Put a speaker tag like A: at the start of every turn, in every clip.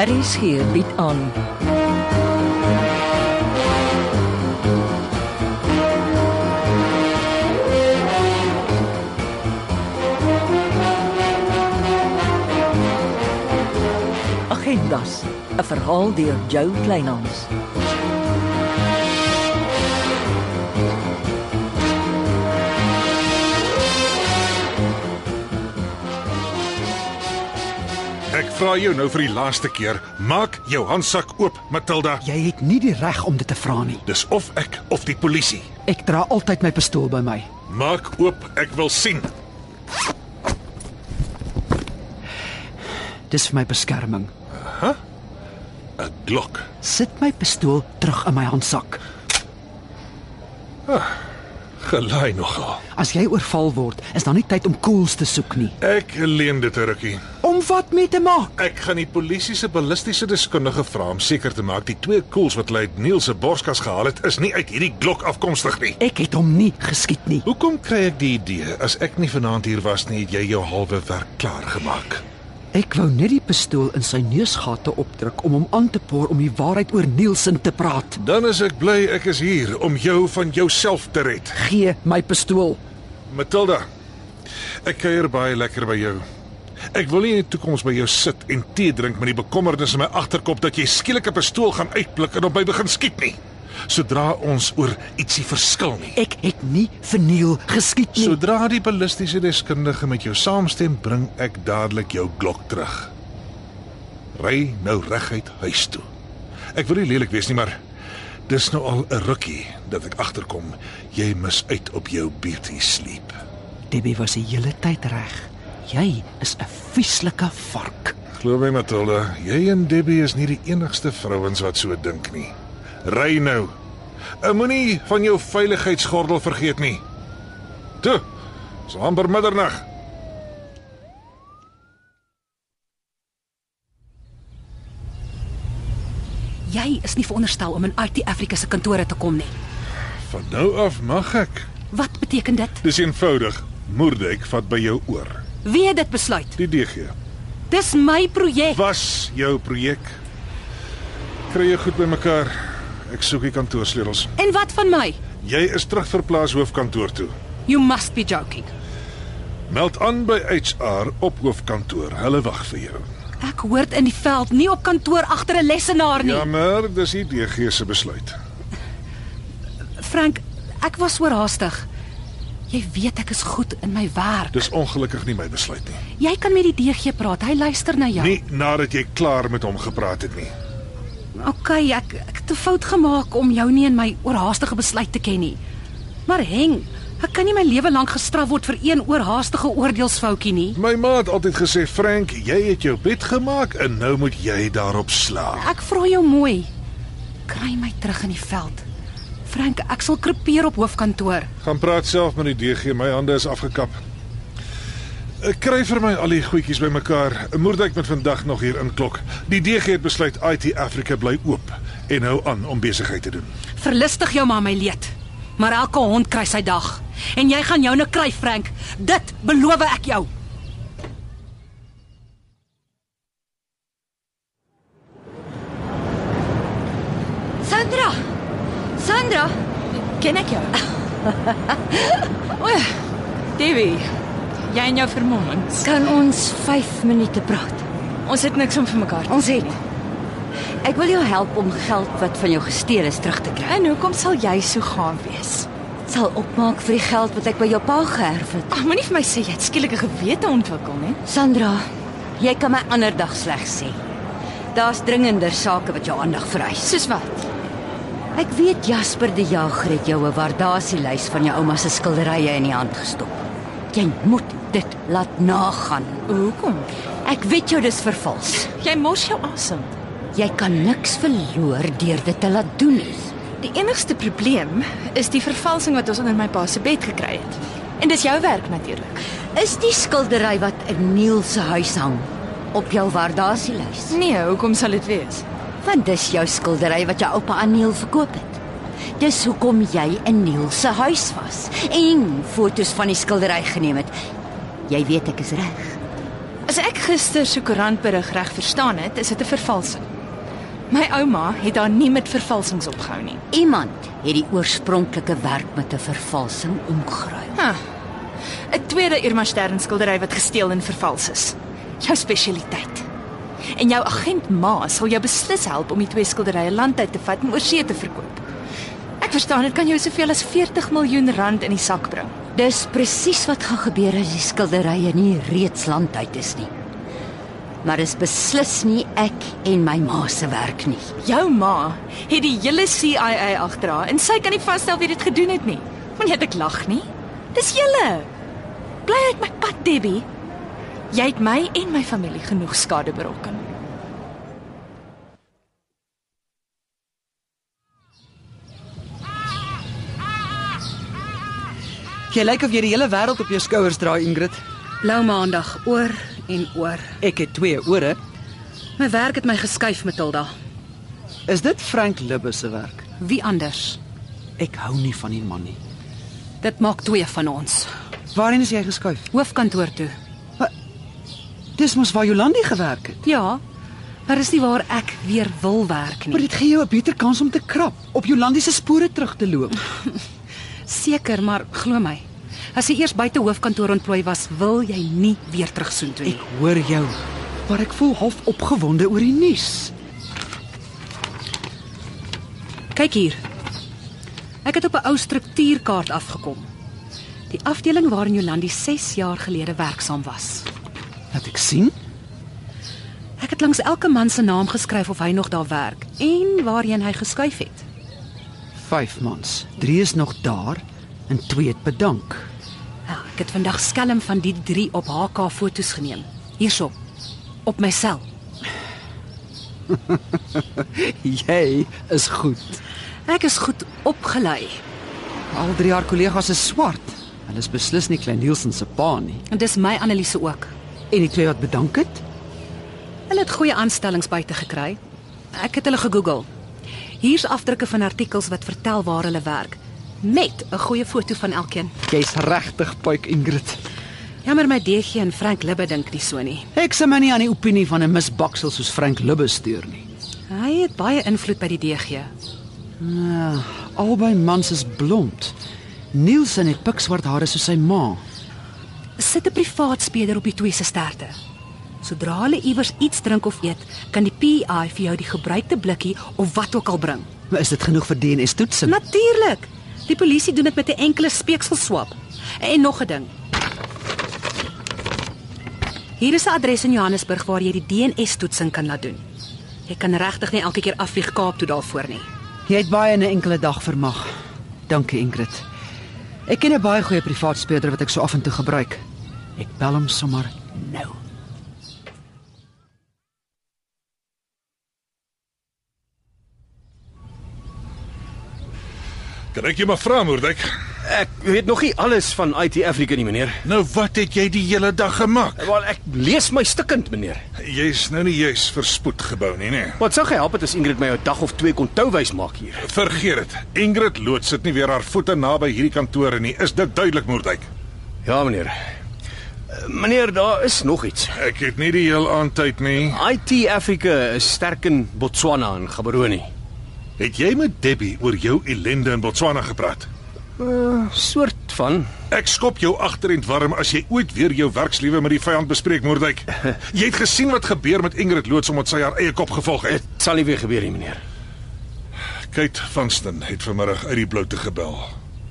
A: Aris hier bied aan. Agendas, 'n verhaal deur Jo Kleinhans.
B: Ek vra jou nou vir die laaste keer, maak jou handsak oop, Matilda.
C: Jy het nie die reg om dit te vra nie.
B: Dis of ek of die polisie.
C: Ek dra altyd my pistool by my.
B: Maak oop, ek wil sien.
C: Dis vir my beskerming.
B: 'n Glok.
C: Sit my pistool terug in my handsak.
B: Gelaai nogal.
C: As jy oorval word, is daar nie tyd om koels te soek nie.
B: Ek leen dit 'n rukkie.
C: Om wat mee te maak?
B: Ek gaan die polisie se ballistiese deskundige vra om seker te maak die twee koels wat Luit Neil se borskas gehaal het, is nie uit hierdie Glok afkomstig nie.
C: Ek het hom nie geskiet nie.
B: Hoekom kry ek die idee as ek nie vanaand hier was nie, het jy jou halwe werk klaar gemaak?
C: Ek wou net die pistool in sy neusgate opdruk om hom aan te poor om die waarheid oor Nielsen te praat.
B: Dan is ek bly ek is hier om jou van jouself te red.
C: Gee my pistool.
B: Matilda. Ek kuier baie lekker by jou. Ek wil nie in die toekoms by jou sit en tee drink met die bekommernis in my agterkop dat jy skielik 'n pistool gaan uitpluk en op my begin skiet nie. Sodra ons oor ietsie verskil nie.
C: Ek het nie vir Neil geskiet nie.
B: Sodra die ballistiese deskundige met jou saamstem, bring ek dadelik jou Glock terug. Ry nou reguit huis toe. Ek wil nie lelik wees nie, maar dis nou al 'n rukkie dat ek agterkom jy mis uit op jou beauty sleep.
C: Debbie was die hele tyd reg. Jy is 'n vieslike vark.
B: Glo my Matilda, jy en Debbie is nie die enigste vrouens wat so dink nie. Ry nou. Ek moenie van jou veiligheidsgordel vergeet nie. Toe. Dis amper middernag.
D: Jy is nie veronderstel om in IT Afrika se kantore te kom nie.
B: Van nou af mag ek.
D: Wat beteken dit?
B: Dis eenvoudig. Moerdijk vat by jou oor.
D: Wie het dit besluit?
B: Die DG.
D: Dis my projek.
B: Was jou projek. Kry jou goed bymekaar. Ek soek die kantoorsleutels.
D: En wat van my?
B: Jy is terugverplaas hoofkantoor toe.
D: You must be joking.
B: Meld aan by HR op hoofkantoor. Hulle wag vir jou.
D: Ek hoort in die veld, nie op kantoor agter 'n lesenaar nie.
B: Jammer, Ja, dis die DG se besluit.
D: Frank, ek was oorhaastig. Jy weet ek is goed in my werk.
B: Dis ongelukkig nie my besluit nie.
D: Jy kan met die DG praat. Hy luister na jou.
B: Nie nadat jy klaar met hom gepraat het nie.
D: Okay, ek ek het 'n fout gemaak om jou nie in my oorhaastige besluit te ken nie. Maar heng, ek kan nie my lewe lank gestraf word vir een oorhaastige oordeelsfoutjie nie.
B: My ma het altyd gesê, "Frank, jy het jou bed gemaak en nou moet jy daarop slaap."
D: Ek vra jou mooi. Kry my terug in die veld. Frank, ek sal krepeer op hoofkantoor.
B: Gaan praat self met die DG, my hande is afgekap. Ek kry vir my al die goedjies bymekaar. Moerdijk moet vandag nog hier inklok. Die DG het besluit IT Africa bly oop en hou aan om besigheid te doen.
D: Verlustig jou maar my leed. Maar elke hond kry sy dag. En jy gaan joune kry, Frank. Dit beloof ek jou. Sandra. Sandra, ken ek jou? ja.
E: Debbie, jy en jou vermommings.
F: Kan ons 5 minute praat?
E: Ons het niks om vir mekaar te
F: Ons het Ek wil jou help om geld wat van jou gesteel is terug te kry.
E: En hoekom sal jy so gaam wees?
F: Ek sal opmaak vir die geld wat ek by jou pa geërf het.
E: Ag, moenie vir my sê jy het skielik 'n gewete ontwikkel nie.
F: Sandra, jy kan my ander dag sleg sê. Daar's dringender sake wat jou aandag vereis.
E: Soos wat?
F: Ek weet Jasper die Jager het jou 'n waardasielys van jou ouma se skilderye in die hand gestop. Jy moet dit laat nagaan.
E: Hoekom?
F: Ek weet jou dis vervals.
E: Jy mors jou asem.
F: Jy kan niks verloor deur dit te laat doen nie.
E: Die enigste probleem is die vervalsing wat ons onder my pa se bed gekry het. En dis jou werk natuurlik.
F: Is die skildery wat in Neil se huis hang op jou waardasielys?
E: Nee, hoekom sal dit wees?
F: Want dis jou skildery wat jou oupa aan Neil verkoop het. Dis hoekom jy in Neil se huis was en fotos van die skildery geneem het. Jy weet ek is reg.
E: As ek gister se koerantberig reg verstaan het, is dit 'n vervalsing. My ouma het haar nie met vervalsings opgehou nie.
F: Iemand het die oorspronklike werk met 'n vervalsing omgeruil.
E: Ha. 'n Tweede Irma Stern skildery wat gesteel en vervals is. Jou spesialiteit. En jou agent Ma sal jou beslis help om die twee skilderye landtyd te vat en oorsee te verkoop. Ek verstaan dit kan jou soveel as 40 miljoen rand in die sak bring.
F: Dis presies wat gaan gebeur as die skilderye nie reeds landtyd is nie. Maar dis beslis nie ek en my ma se werk nie.
E: Jou ma het die hele CIA agter haar en sy kan nie vasstel wie dit gedoen het nie. Moenie dat ek lag nie. Dis julle. Bly uit my pad, Debbie. Jy het my en my familie genoeg skade berokken.
C: Jy lyk of jy die hele wêreld op jou skouers dra, Ingrid.
D: Lou maandag oor en oor.
C: Ek het twee ore.
D: My werk het my geskuif, Matilda.
C: Is dit Frank Libbe se werk?
D: Wie anders?
C: Ek hou nie van die man nie.
D: Dit maak twee van ons.
C: Waarheen is jy geskuif?
D: Hoofkantoor toe.
C: Dis mos waar Jolandi gewerk het.
D: Ja. Maar dis nie waar ek weer wil werk
C: Maar
D: nie.
C: dit gee jou 'n beter kans om te krap, op Jolandi se spore terug te loop.
D: Seker, maar glo my. As jy eers buite hoofkantoor ontplooi was, wil jy nie weer terug soen toe nie.
C: Ek hoor jou, maar ek voel half opgewonde oor die nuus.
D: Kyk hier. Ek het op 'n ou struktuurkaart afgekom. Die afdeling waarin Jolandi 6 jaar gelede werksaam was.
C: Laat ek sien.
D: Ek het langs elke man se naam geskryf of hy nog daar werk en waarheen hy geskuif het.
C: 5 maande. 3 is nog daar en 2 het bedank.
D: Ja, ek het vandag skelm van die 3 op HK foto's geneem. Hierso op my sel.
C: Jy is goed.
D: Ek is goed opgelei.
C: Al drie haar kollegas is swart. Hulle is beslis nie Klein Nielsen se pa nie.
D: En dis my analise ook.
C: En die twee wat bedank het?
D: Hulle het goeie aanstellings buite gekry. Ek het hulle gegoogel. Hier's afdrukke van artikels wat vertel waar hulle werk met 'n goeie foto van elkeen.
C: Jy's regtig puik Ingrid.
D: Jammer my DG en Frank Libbe dink nie so nie.
C: Ek sê my nie aan die opinie van 'n misbaksel soos Frank Lubbe steur nie.
D: Hy het baie invloed by die DG.
C: Uh, albei mans is blond. Nielsen het pikswart hare soos sy ma.
D: Sit 'n privaat speler op die twee se sterte. Sodra hulle iewers iets drink of eet, kan die PI vir jou die gebruikte blikkie of wat ook al bring.
C: Maar is dit genoeg vir DNA-toetsing?
D: Natuurlik. Die polisie doen dit met 'n enkele speekselswap. En nog 'n ding. Hier is 'n adres in Johannesburg waar jy die DNS-toetsing kan laat doen. Jy kan regtig nie elke keer afvlieg Kaap toe daarvoor nie.
C: Jy het baie in 'n enkele dag vermag. Dankie Ingrid. Ek ken 'n baie goeie privaat speurder wat ek so af en toe gebruik. Ek bel hom sommer nou.
B: Kan ek jou maar vra, Moerdijk?
G: Ek weet nog nie alles van IT Africa nie, meneer.
B: Nou wat het jy die hele dag gemaak?
G: Wel, ek lees my stukkend, meneer.
B: Jy's nou nie juis verspoed gebou nie, nee. nê?
G: Wat sou gehelp het as Ingrid my 'n dag of twee kon touwys maak hier?
B: Vergeet dit. Ingrid Loot sit nie weer haar voete naby hierdie kantore nie. Is dit duidelik, Moerdijk?
G: Ja, meneer. Eh, Meneer, daar is nog iets.
B: Ek het nie die heel aand tyd nie.
G: IT Africa is sterk in Botswana en Gaborone.
B: Het jy met Debbie oor jou ellende in Botswana gepraat?
G: 'n Soort van.
B: Ek skop jou agterend warm as jy ooit weer jou werkslewe met die vyand bespreek, Moerdijk. Jy het gesien wat gebeur met Ingrid Loots omdat sy haar eie kop gevolg
G: Dit
B: het.
G: sal nie weer gebeur nie, meneer.
B: Kate Vanston het vanmiddag uit die bloute gebel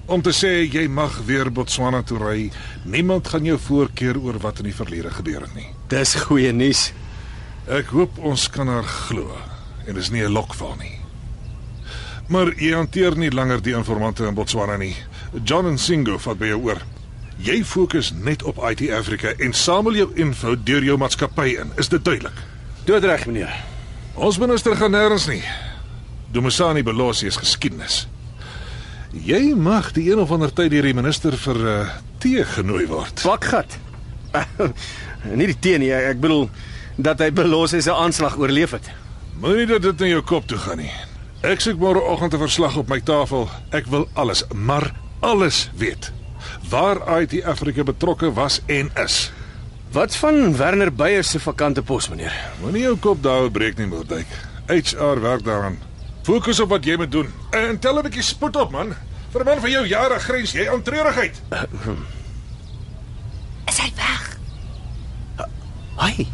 B: om te sê jy mag weer Botswana toe ry. Niemand gaan jou voorkeer oor wat in die verlede gebeur het nie.
G: Dis goeie nuus.
B: Ek hoop ons kan haar glo en dis nie 'n lokval nie. Maar jy hanteer nie langer die informante in Botswana nie. John en Singo vat by jou oor. Jy fokus net op IT Africa en samel jou info deur jou maatskappy in. Is dit duidelik?
G: Doodreg, meneer.
B: Ons minister gaan nêrens nie. Dumisani Belosi is geskiedenis. Jy mag die een of ander tyd deur die minister vir uh, tee genooi word.
G: Swakgat. nie die teen nie, ek bedoel dat hy belos is 'n aanslag oorleef het.
B: Moenie dat dit in jou kop toe gaan nie. Ek soek môreoggend 'n verslag op my tafel. Ek wil alles, maar alles weet. Waar IT Afrika betrokke was en is.
G: Wat van Werner Beyer se vakante pos, meneer?
B: Moenie jou kop daaroor breek nie, Moerdijk. HR werk daaraan. Fokus op wat jy moet doen. En tel 'n bietjie spoed op, man. Vir 'n man van jou jare grens jy aan treurigheid.
D: Is hy weg?
G: Uh, Hi.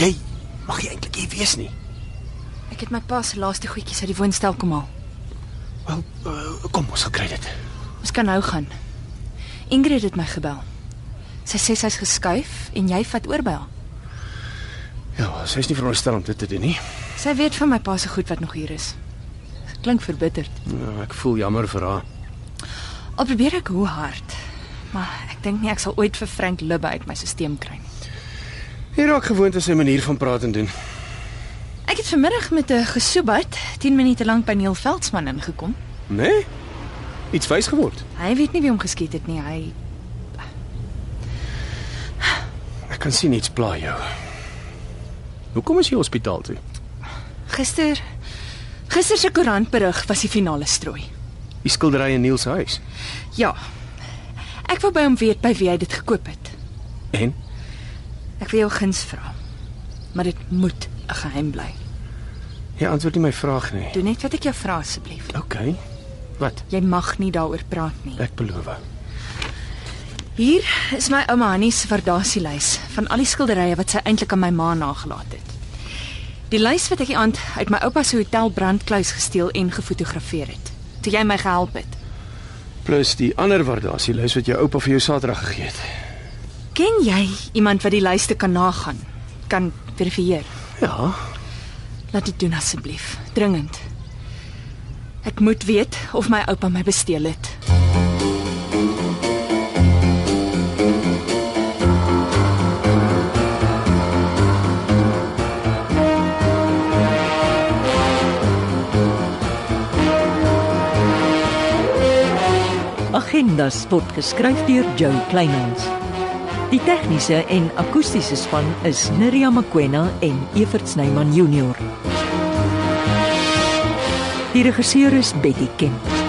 G: Jy mag jy eintlik hier wees nie.
D: Ek het my pa se laaste goedjies uit die woonstel kom haal.
G: Wel, uh, kom ons sal kry dit.
D: Ons kan nou gaan. Ingrid het my gebel. Sy sê sy's geskuif en jy vat oor by haar.
G: Ja, sy is nie veronderstel om dit te doen nie.
D: Sy weet van my pa se goed wat nog hier is. Klink verbitterd.
G: Ja, ek voel jammer vir haar.
D: Al probeer ek hoe hard, maar ek dink nie ek sal ooit vir Frank Libbe uit my stelsel kry nie.
G: Hy raak gewoond aan sy manier van praat en doen.
D: Ek het vanmiddag met 'n gesoebat 10 minute lank by Neil Veldsmann ingekom.
G: Né? Nee? Iets wys geword.
D: Hy weet nie wie hom geskiet het nie. Hy
G: Ek kan sien iets pla jou. Hoekom is jy hospitaal toe?
D: gister gister se koerantberig was die finale strooi.
G: Die skildery in Neil se huis.
D: Ja. Ek wou by hom weet by wie hy dit gekoop het.
G: En
D: Ek wil jou guns vra. Maar dit moet 'n geheim bly.
G: jy antwoord nie my vraag nie.
D: Doen net wat ek jou vra asseblief.
G: OK. Wat?
D: Jy mag nie daaroor praat nie.
G: Ek beloof.
D: Hier is my ouma Annie se verdasielys van al die skilderye wat sy eintlik aan my ma nagelaat het. Die lys wat ek die aand uit my oupa se hotel brandkluis gesteel en gefotografeer het. Toe jy my gehelp het.
G: Plus die ander waardasie lys wat jou oupa vir jou Saterdag gegee het.
D: Ken jy iemand wat die lyste kan nagaan? Kan verifieer?
G: Ja.
D: Laat dit doen asseblief, dringend. Ek moet weet of my oupa my besteel het.
A: Agendas word geskryf deur Joe Kleinhans. Die tegniese en akoestiese span is Neriya Mkwena en Evert Snyman Junior. Die regisseur is Betty Kemp.